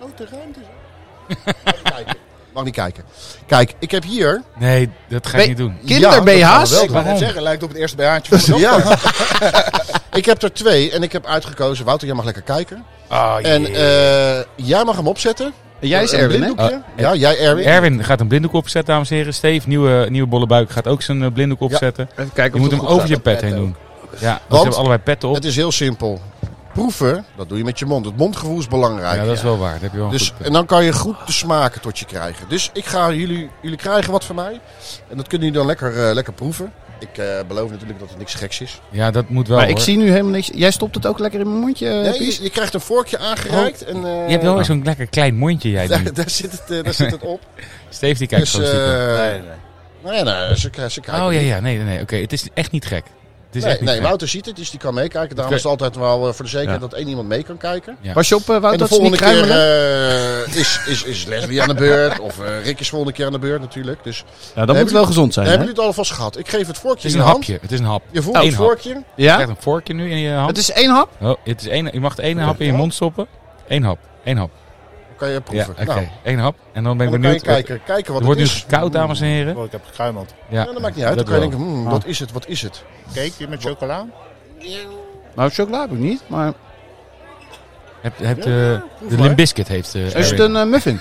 Grote ruimte. Mag niet kijken. Kijk, ik heb hier... Nee, dat ga ik Nee. niet doen. Kinder dat gaan BH's? we wel doen. Ik wou net Waarom? zeggen, lijkt op het eerste BH'tje van de dag. Ja. *laughs* ik heb er twee en ik heb uitgekozen. Wouter, jij mag lekker kijken. Ah, En eh, jij mag hem opzetten. En jij is Een Erwin, hè? Oh, blinddoekje? Ja, jij Erwin. Erwin gaat een blinddoek opzetten, dames en heren. Steve, nieuwe, nieuwe bollebuik, gaat ook zijn eh, blinddoek opzetten. Even kijken Je moet hem over je pet heen pet doen. Ja, want ze Want- hebben allebei petten op. Het is heel simpel. Proeven, dat doe je met je mond. Het mondgevoel is belangrijk. Ja, dat is wel waar. Dat heb je wel een Ah, Dus, goed eh, punt. en dan kan je goed de smaken tot je krijgen. Dus ik ga jullie, jullie krijgen wat van mij. En dat kunnen jullie dan lekker, eh, lekker proeven. Ik eh, beloof natuurlijk dat het niks geks is. Ja, dat moet wel. Maar ik hoor. zie nu helemaal niks. Jij stopt het ook lekker in mijn mondje, eh, Nee, Pies? je, je krijgt een vorkje aangereikt. En, eh, Oh, Je hebt wel zo'n lekker klein mondje, jij. nu. *laughs* daar, daar zit het, eh, daar zit het *laughs* op. Steve, die kijkt Dus, zo stiekem. eh, Nee, nee, nee. nee, ze, ze kijken Oh ja, niet. ja, nee, nee, nee. Oké, het is echt niet gek. Het is Nee, echt niet nee gek. Wouter ziet het, dus die kan meekijken. Daarom is het altijd wel eh, voor de zekerheid dat één iemand mee kan kijken. Ja. Pas je op, eh, Wout, en de dat ze niet volgende keer kruimelen. eh, is, is, is Leslie aan de beurt. Of eh, Rick is volgende keer aan de beurt natuurlijk. Dus Ja, dan moet het wel gezond zijn, hebben hè? jullie het alvast gehad. Ik geef het vorkje Het is in een de hand. hapje. Het is een hap. Je voelt Oh, het één hap. vorkje. Je Ja? krijgt een vorkje nu in je hand. Het is één hap? Oh, het is één, je mag één hap in je mond stoppen. Eén hap. Eén hap. Dan kan je Ja, proeven. oké. Nou, Één hap. En dan ben ik dan kan je benieuwd. kijken, kijken Het wat wordt het nu is. koud, dames en heren. Oh, ik heb gekruimeld. Ja, Ja, dat maakt niet uit. Dan kan je wel. Ah. denken, hmm, wat is het, wat is het? Cake met chocola? Nou, chocola heb ik niet, maar... Hebt, hebt, eh, de Limbiscuit heeft... eh, Is het Erwin. een eh, muffin?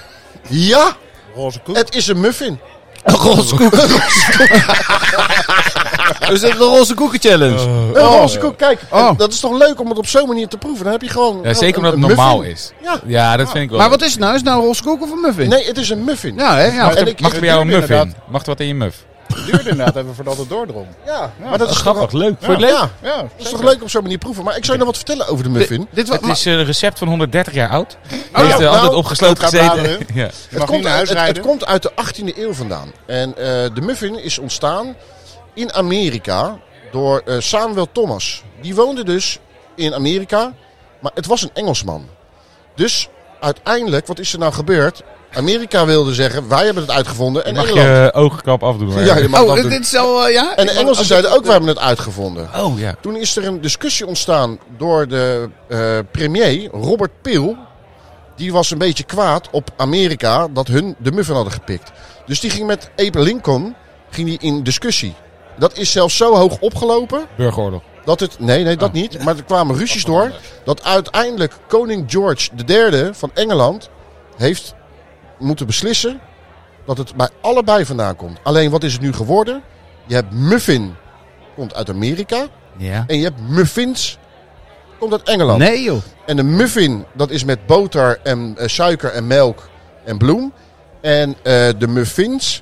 Ja, Roze koek? het is een muffin. Een roze koek. Is het de Dus roze koeken challenge? Een roze koek, kijk. Oh. en Dat is toch leuk om het op zo'n manier te proeven. Dan heb je gewoon Ja, een- zeker omdat een het normaal muffin. is. Ja. Ja, dat vind ik wel. maar wat is het nou? Is het nou een roze koek of een muffin? Nee, het is een muffin. Ja, hè? Ja. en ik, Mag er bij jou een muff in? Mag er wat in je muff? Het duurde inderdaad even voordat het doordrong. ja, maar dat is Grappig, toch, leuk. Voor het ja, leuk. ja, Ja, dat is toch leuk op zo'n manier proeven. Maar ik zou je nog wat vertellen over de muffin. Dit was... Het is eh, een recept van 130 jaar oud. ja. heeft eh, Nou, altijd opgesloten dat gaat gezeten. *laughs* ja. Je mag niet naar uit, het, huis het rijden. komt uit de 18e eeuw vandaan. En eh, de muffin is ontstaan in Amerika door eh, Samuel Thomas. Die woonde dus in Amerika, maar het was een Engelsman. Dus uiteindelijk, wat is er nou gebeurd? Amerika wilde zeggen, wij hebben het uitgevonden en Mag Engeland. je oogkap afdoen. eh? hoor. Ja, je mag Oh, dat dit, doen. dit is al... eh, ja? En de Engelsen zeiden ook, wij hebben het uitgevonden. Oh ja. Toen is er een discussie ontstaan door de eh, premier, Robert Peel. Die was een beetje kwaad op Amerika dat hun de muffin hadden gepikt. Dus die ging met Abe Lincoln ging die in discussie. Dat is zelfs zo hoog opgelopen Burgeroorlog. dat het... Nee, nee, dat niet. Maar er kwamen ruzies door dat uiteindelijk koning George III van Engeland heeft moeten beslissen dat het bij allebei vandaan komt. Alleen wat is het nu geworden? Je hebt muffin, komt uit Amerika. Ja. En je hebt muffins. Komt uit Engeland. Nee, joh. En de muffin, dat is met boter en eh, suiker en melk en bloem. En eh, de muffins,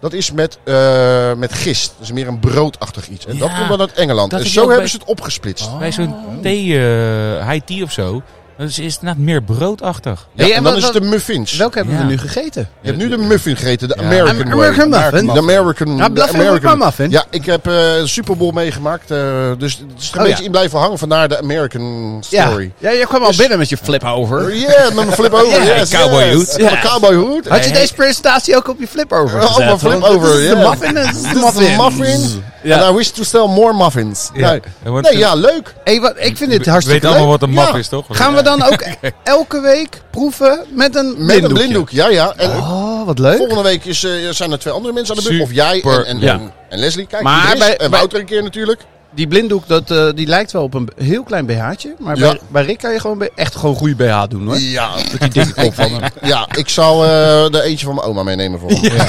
dat is met, eh, met gist. Dat is meer een broodachtig iets. En dat Ja, komt dan uit Engeland. dat En is zo ook hebben bij- ze het Oh. opgesplitst. Bij zo'n thee, eh, high tea of zo, dan is is het net meer broodachtig. Ja, Hey, en en dan wat- is het de muffins. Welke hebben Ja. we nu gegeten? Je hebt nu de muffin gegeten, de Ja. American, Am- way. American muffin. De American, Ja, de bluff in American. mijn muffin. Ja, ik heb eh, de Super Bowl meegemaakt. eh, dus het is er een Oh, beetje ja. in blijven hangen. Vandaar de American story. Ja, jij kwam al Dus- binnen met je flip over. Ja, met mijn flip over. Ja, yes, cowboy yes. hoed. Ja, mijn cowboy hoed. Had je deze presentatie ook op je flip over? Oh, mijn flip over. Dit is Nou- de ja. muffin. Dit is Dit de is de muffin. muffin. Ja. And I wish to sell more muffins. Ja. Nee. En wordt- eh, Nee, ja, leuk. Hey, wat, ik vind dit We hartstikke leuk. weten allemaal wat een map Ja. is, toch? Gaan we dan *laughs* ook elke week proeven met een Met een blinddoekje? blinddoek. Ja, ja. En Ah. Oh, wat leuk. volgende week is, eh, zijn er twee andere mensen aan de beurt. Of jij en, Super. en, Ja. en, en Leslie. Kijk, Maar maar bij- en bij- Wouter een keer natuurlijk. Die blinddoek, dat, eh, die lijkt wel op een heel klein BH'tje. Maar Ja. bij, bij Rick kan je gewoon be- echt gewoon goede BH doen, hoor. Ja, die dikke kop van hem. *laughs* ja, ik zal eh er eentje van mijn oma meenemen voor. Ja.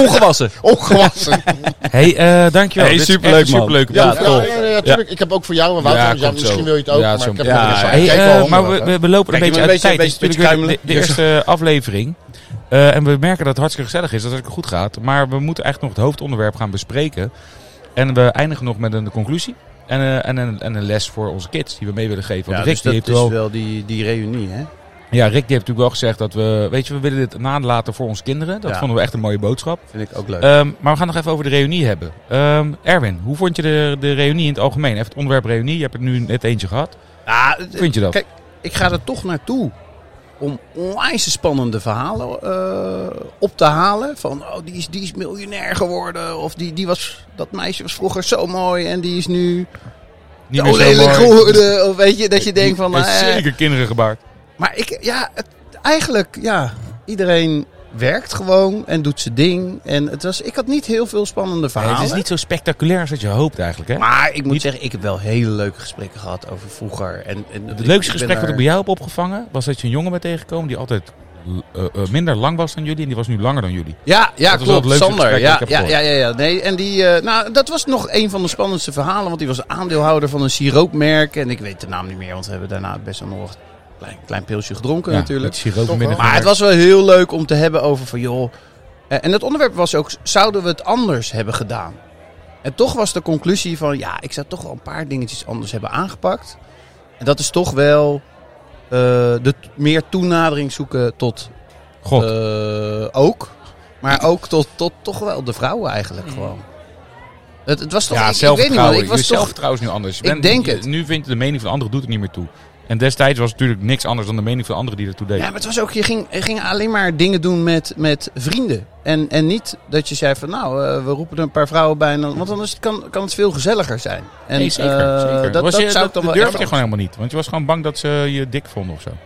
Ongewassen. Ongewassen. Hey, eh, dankjewel. Hey, Dit is superleuk, echt man. Superleuk. Ja, Ja, ja, ja, ja, tuurlijk. Ik heb ook voor jou en Wouter. Ja, want jij- komt zo. misschien wil je het ook. Ja, maar zo- ik heb ja, nog niks ja. aan. Hey, Kijk eh, wel maar honderd, we, hè. we, we lopen Kijk, een beetje je moet uit de een tijd. Dit is beetje- dus, natuurlijk beetje weer de, de eerste aflevering. Eh, en we merken dat het hartstikke gezellig is, dat het goed gaat. Maar we moeten eigenlijk nog het hoofdonderwerp gaan bespreken. En we eindigen nog met een conclusie. En, eh, en, een, en een les voor onze kids die we mee willen geven. Want Ja, Rick, dus die dat heeft is wel, wel die, die reunie, hè? ja, Rick die heeft natuurlijk wel gezegd dat we... Weet je, we willen dit nalaten voor onze kinderen. Dat Ja. vonden we echt een mooie boodschap. Vind ik ook leuk. Ehm, maar we gaan nog even over de reunie hebben. Ehm, Erwin, hoe vond je de, de reunie in het algemeen? Even het onderwerp reunie. Je hebt er nu net eentje gehad. Ah, Hoe vind je dat? Kijk, ik ga er toch naartoe om onwijs spannende verhalen eh, op te halen. Van, oh, die is, die is miljonair geworden. Of die, die was, dat meisje was vroeger zo mooi en die is nu Niet zo lelijk geworden. Of weet je, dat je denkt van... Heeft eh, zeker kinderen gebaard. maar ik, ja, het- eigenlijk, ja, iedereen werkt gewoon en doet zijn ding. En het was, ik had niet heel veel spannende verhalen. het is niet zo spectaculair als dat je hoopt eigenlijk. Hè? Maar ik moet zeggen, ik heb wel hele leuke gesprekken gehad over vroeger. En, en Het leukste gesprek wat ik bij jou heb opgevangen was dat je een jongen bent tegengekomen die altijd eh, eh, minder lang was dan jullie en die was nu langer dan jullie. Ja, ja Dat was wel klopt. het leukste Sander. gesprek Ja, dat ik heb ja, ja, ja, ja. Nee, en die, eh, nou, dat was nog een van de spannendste verhalen. Want die was aandeelhouder van een siroopmerk. En ik weet de naam niet meer, want we hebben daarna best wel nog een klein, klein pilsje gedronken Ja, natuurlijk. met siroop Toch midden- wel. Maar het was wel heel leuk om te hebben over van joh. eh, En het onderwerp was ook, zouden we het anders hebben gedaan? En toch was de conclusie van ja, ik zou toch wel een paar dingetjes anders hebben aangepakt. En dat is toch wel eh, de t- meer toenadering zoeken tot God, eh, ook. Maar ook tot, tot toch wel de vrouwen eigenlijk gewoon. Het, het was toch, ja, ik- ik, weet niet zelfvertrouwen. man, ik was je toch zelfvertrouwen is nu anders. Je Ik denk je- het. Nu vind je de mening van de ander doet het niet meer toe. En destijds was het natuurlijk niks anders dan de mening van de anderen die ertoe deed. Ja, maar het was ook, je ging, je ging alleen maar dingen doen met, met vrienden. En, en niet dat je zei van nou, eh, we roepen er een paar vrouwen bij. En dan, want anders kan, kan het veel gezelliger zijn. En, nee, zeker. eh, zeker. Dat, Was dat je- zou ik dan wel durfde echt je gewoon helemaal niet. Want je was gewoon bang dat ze je dik vonden of zo. In,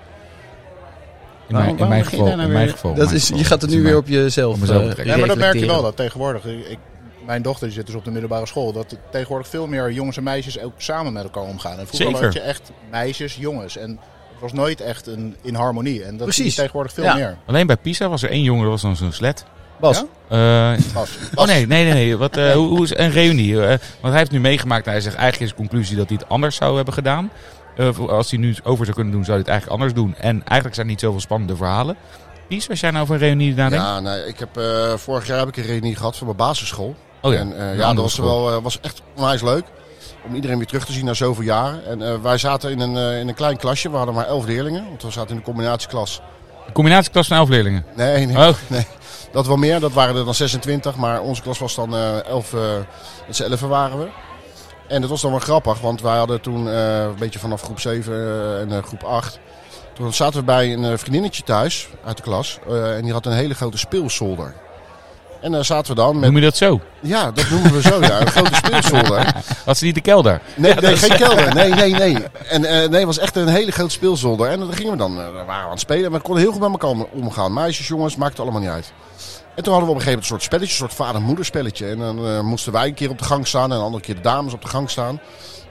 mijn, in waarom mijn begin je geval. daar nou in mijn weer- geval. in dat mijn is, geval. je gaat het Dat nu is weer in op jezelf Oh, Op mezelf eh, betrekken. Ja, maar dat merk je wel reflecteren. dat tegenwoordig. Ik, mijn dochter die zit dus op de middelbare school. Dat tegenwoordig veel meer jongens en meisjes ook samen met elkaar omgaan. En vroeger Zeker. had je echt meisjes, jongens. En het was nooit echt een, in harmonie. En dat Precies. zie je tegenwoordig veel Ja. meer. mijn- Alleen bij Pisa was er één jongen, dat was dan zo'n slet. Bas, Ja? Eh, Bas, Oh nee, nee, nee. nee. Wat, eh, hoe, hoe is een reunie? eh, want hij heeft nu meegemaakt en hij zegt eigenlijk is de conclusie dat hij het anders zou hebben gedaan. Eh, voor- als hij nu het over zou kunnen doen, zou hij het eigenlijk anders doen. En eigenlijk zijn er niet zoveel spannende verhalen. Pies, was jij nou over een reunie nadenkt? Ja, nee, ik heb, eh, vorig jaar heb ik een reunie gehad van mijn basisschool. Oh ja, en, eh, een ja andere dat was, school. wel, eh, was echt onwijs leuk. Om iedereen weer terug te zien na zoveel jaren. En eh, wij zaten in een, eh, in een klein klasje. We hadden maar elf leerlingen. Want we zaten in de combinatieklas. Een combinatieklas van elf leerlingen. Nee, *laughs* nee, Oh, dat wel meer. Dat waren er dan 26. Maar onze klas was dan eh, elf. eh met z'n elfen waren we. En dat was dan wel grappig. Want wij hadden toen eh, een beetje vanaf groep 7 eh, en eh, groep 8. Toen zaten we bij een eh, vriendinnetje thuis uit de klas. eh, en die had een hele grote speelzolder. En daar zaten we dan met... noem je dat zo? Ja, dat noemen we zo, ja. Een grote speelzolder. Had ze niet de kelder? Nee, nee geen kelder. Nee, nee, nee. En eh, nee, het was echt een hele grote speelzolder. En dan gingen we dan, eh, daar waren we aan het spelen. Maar we konden heel goed met elkaar om- omgaan. Meisjes, jongens, maakt het allemaal niet uit. En toen hadden we op een gegeven moment een soort spelletje, een soort vader-moeder spelletje. En dan eh, moesten wij een keer op de gang staan en een andere keer de dames op de gang staan.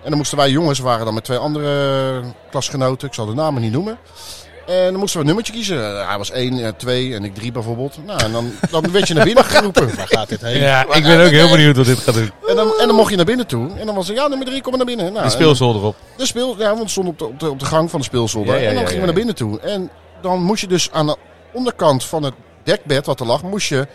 En dan moesten wij jongens, we waren dan met twee andere eh, klasgenoten, ik zal de namen niet noemen. En dan moesten we een nummertje kiezen. Eh, Hij was één, eh, twee en ik drie bijvoorbeeld. Nou, en dan, dan werd je naar binnen geroepen. waar gaat dit heen? Ja, ik ben ook heel benieuwd wat dit gaat doen. En dan, en dan mocht je naar binnen toe. En dan was er, ja, nummer drie, kom maar naar binnen. Nou, Een en- speelzolder op. de speel, ja, want het stond op de, op, de, op de gang van de speelzolder. Ja, ja, en dan ja, gingen ja, we naar binnen toe. En dan moest je dus aan de onderkant van het dekbed wat er lag, moest je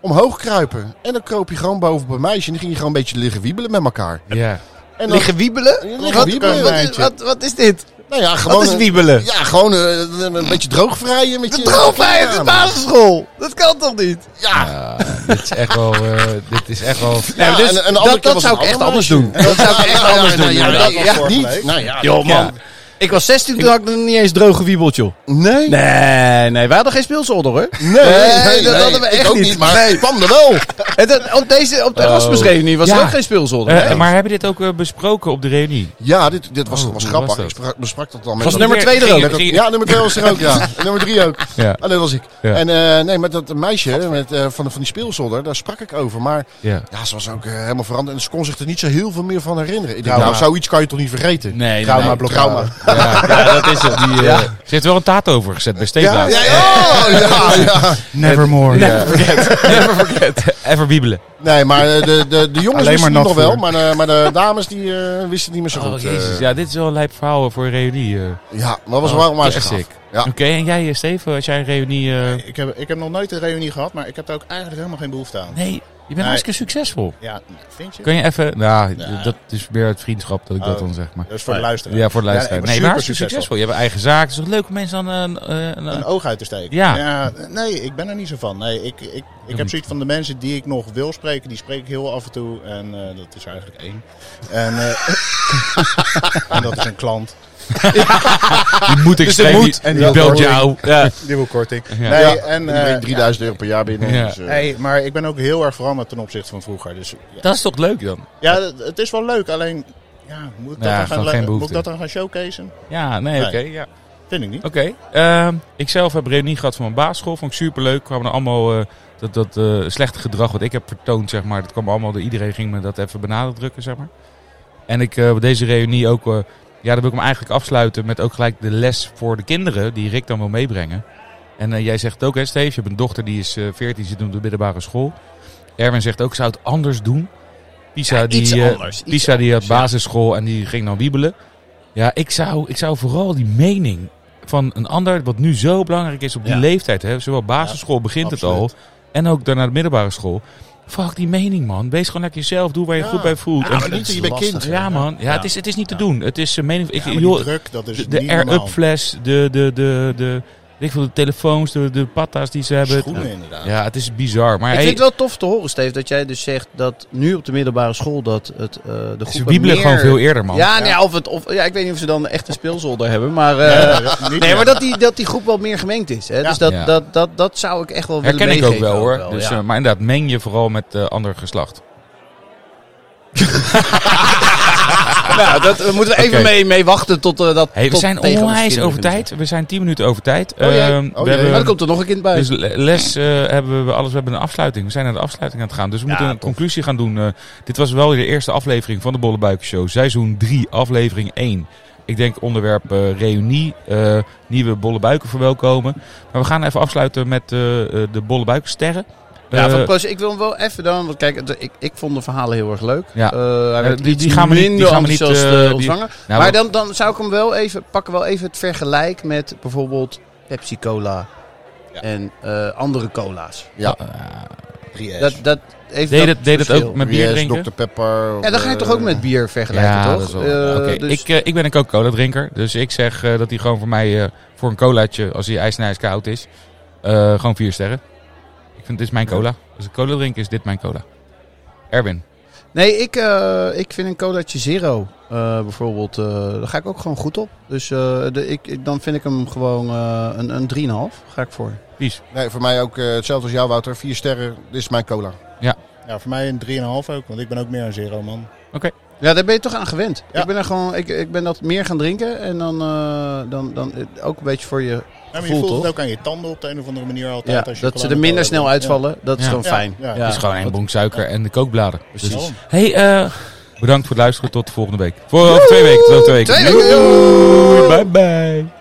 omhoog kruipen. En dan kroop je gewoon boven op een meisje en dan ging je gewoon een beetje liggen wiebelen met elkaar. Ja. En dan, liggen wiebelen? Liggen wat, wiebelen, wat, is, meidje. wat, wat is dit? nou ja, gewoon, wat is eh, wiebelen? ja, gewoon eh, een, een beetje droogvrijen met De je... droogvrijheid in de Ja, basisschool. Dat kan toch niet? Ja, dit is echt wel... eh, dit is echt wel... Nee, maar Ja, dus en- en de andere dat keer dat was zou ik het echt allemaal anders doen. Dat zou ik echt ja, anders ja, doen. ja, Ja, dat was ja. vorige niet. week. Nou ja, Joh man, ik was 16 toen had ik nog niet eens droge wiebeltje. Nee, nee, Nee, nee, wij hadden geen speelzolder hoor. Nee, dat hadden we ik echt ook niet. maar Nee. het kwam er wel. En dat- op, deze, op de Oh. Erasmusreunie was Ja. er ook geen speelzolder. Eh, nee. maar hebben we dit ook eh, besproken op de reunie? Ja, dit, dit was, Oh, was hoe was grappig. dat? ik sprak, besprak dat dan met... Was dat- nummer twee er ook? Ging- ging- Ja, nummer twee was er ook, ja. En nummer drie ook. Ja. Ah, dat was ik. Ja. En eh, nee, met dat meisje met, eh, van, van die speelzolder, daar sprak ik over. Maar ja. ja, ze was ook eh, helemaal veranderd en ze kon zich er niet zo heel veel meer van herinneren. Ik denk, Trauma. nou, zoiets kan je toch niet vergeten? Nee, Trauma nee. blokkade. trauma. Ja, ja, dat is het. Die, eh, Ze heeft wel een tato over gezet bij Steenplaat. Ja, ja, ja, ja, ja. Nevermore. *laughs* Never forget. Even wiebelen. Nee, maar eh, de, de, de jongens Alleen wisten maar het nog nat wel, maar de, maar de dames die eh, wisten het niet meer zo goed. eh. Oh, Ja, dit is wel een lijp verhaal voor een reunie. eh. ja, maar dat was wel maar eens gaaf. Classic. Ja. Oké, en jij, eh, Steven, als jij een reunie... eh, Ik heb, ik heb nog nooit een reunie gehad, maar ik heb daar ook eigenlijk helemaal geen behoefte aan. Nee, je bent hartstikke succesvol. Ja, nou, vind je? Kun je even... Nou, Ja. dat is meer uit vriendschap dat ik dat Oh. dan zeg, maar... Dat is voor de luisteraar. Ja, voor de Ja, ik luisteraar. ben nee, maar super hartstikke succesvol. succesvol. Je hebt een eigen zaak. Het is toch leuk om mensen dan... eh, een- een- Een oog uit te steken. Ja. nee, ik ben er niet zo van. Nee, ik, ik, ik heb niet. zoiets van de mensen die ik nog wil spreken, die spreek ik heel af en toe. En eh, dat is er eigenlijk één. En, eh, *laughs* en dat is een klant. die moet ik Dus het spreken, moet. Die, En die die belt hoort. jou. Ja. Die wil korting. Ja. Nee, Ja, en... die eh, brengt 3000 euro per jaar binnen. Ja. dus, eh, Hey, maar ik ben ook heel erg veranderd ten opzichte van vroeger. Dus ja, Dat is toch leuk dan? ja, het- het is wel leuk. Alleen, ja, moet ik dat, Ja, dan, gewoon gaan le- geen moet behoefte. ik dat dan gaan showcasen? Ja, nee, Nee. oké. ja. Vind ik niet. Oké. Ehm ik zelf heb reunie gehad van mijn basisschool. Vond ik superleuk. Kwamen er allemaal eh, dat, dat eh, slechte gedrag wat ik heb vertoond, zeg maar. Dat kwam allemaal door iedereen ging me dat even benadrukken, zeg maar. En ik eh, bij deze reunie ook, eh, ja, dan wil ik hem eigenlijk afsluiten met ook gelijk de les voor de kinderen die Rick dan wil meebrengen. En eh, jij zegt ook, hè, Steve, je hebt een dochter die is eh 14, zit op de middelbare school. Erwin zegt ook, zou het anders doen. Pisa, die, iets eh, anders. iets Lisa die had anders, ja. basisschool en die ging dan wiebelen. Ja, ik zou, ik zou vooral die mening van een ander, wat nu zo belangrijk is op die Ja. leeftijd, hè, zowel basisschool begint het al, absoluut. en ook daarna de middelbare school. Fuck die mening, man. Wees gewoon lekker jezelf, doe waar je Ja. goed bij voelt. Ja, En- maar dat je bij kind. ja, man. Ja, Het, is, het is niet te Ja. doen. Het is eh, mening. Ik, Ja, maar die joh, druk, dat is de de niet air-up normaal. fles, de, de, de, de, weet ik veel, de telefoons, de, de patta's die ze hebben. Schoenen inderdaad. Ja, het is bizar. Maar Ik hey, vind het wel tof te horen, Steve, dat jij dus zegt dat nu op de middelbare school dat het, eh, de ze groepen wiebelen meer... gewoon veel eerder, man. Ja, nee, of het, of, ja, ik weet niet of ze dan echt een echte speelzolder hebben, maar... eh, Nee, dat- niet Nee, meer. maar dat die, dat die groep wel meer gemengd is. Hè? Ja. Dus dat, Ja. dat, dat, dat zou ik echt wel willen Herken ik ook meegeven wel, hoor. wel, dus, ja. eh, maar inderdaad, meng je vooral met eh ander geslacht. nou, dat eh, moeten we even Oké. mee, mee wachten tot eh, dat... Hey, we tot zijn tegen ons onwijs kinderen over kunnen tijd. We zijn 10 minuten over tijd. Oh jee. Ehm, Oh we jee. zijn. Maar er hebben, komt er nog een kind bij. dus le- les eh, hebben we alles. We hebben een afsluiting. We zijn naar de afsluiting aan het gaan. Dus we moeten een conclusie gaan doen. Eh, dit was wel weer de eerste aflevering van de Bollebuiken Show. Seizoen 3, aflevering 1. Ik denk onderwerp eh, reunie. eh, nieuwe Bollebuiken verwelkomen. Maar we gaan even afsluiten met eh, eh, de Bollebuiken sterren. ja, Eh, van Proos, ik wil hem wel even dan, want kijk, de- ik, ik vond de verhalen heel erg leuk. Ja. Eh, hij werd Ja, die- iets die gaan we niet- die minder gaan we niet, enthousiast eh, eh, die- ontvangen. nou, maar dan, dan zou ik hem wel even, pakken wel even het vergelijk met bijvoorbeeld Pepsi Cola Ja. en eh, andere cola's. Ja. eh, Drie Dat, S's. dat heeft Deed dat het- deed het verschil. ook met bier Yes, drinken? Dr. Pepper. Ja, dan ga je toch ook met bier vergelijken, Ja, toch? dat is wel- Eh, Oké, dus- ik, eh, ik ben een Coca-Cola drinker. Dus ik zeg eh, dat hij gewoon voor mij eh, voor een colaatje, als hij ijsnijs koud is, eh, gewoon vier sterren. Ik vind dit is mijn cola. Als ik cola drink, is dit mijn cola. Erwin. Nee, ik, eh, ik vind een colaatje zero eh, bijvoorbeeld, eh, daar ga ik ook gewoon goed op. Dus eh, de, ik, ik- dan vind ik hem gewoon eh, een, een 3,5. Ga ik voor. Nee, voor mij ook eh, hetzelfde als jou, Wouter. Vier sterren. Dit is mijn cola. Ja, voor mij een 3,5 ook, want ik ben ook meer een zero man. Ja, daar ben je toch aan gewend. Ja. Ik ben er gewoon, ik, ik ben dat meer gaan drinken en dan, eh, dan, dan eh, ook een beetje voor je. Ja, maar je Voelt voelt het toch? ook aan je tanden op de een of andere manier altijd. Ja, als je dat ze cola er met minder cola snel drinkt. uitvallen, dat is Ja. gewoon Ja, fijn. ja. Het is gewoon één bonk suiker en de kookbladen. Dus- Ja. Precies. Daarom. hey, eh, bedankt voor het luisteren. Tot de volgende week. Voor over twee weken. Tot over twee weken. Twee weken. Doei, Bye bye.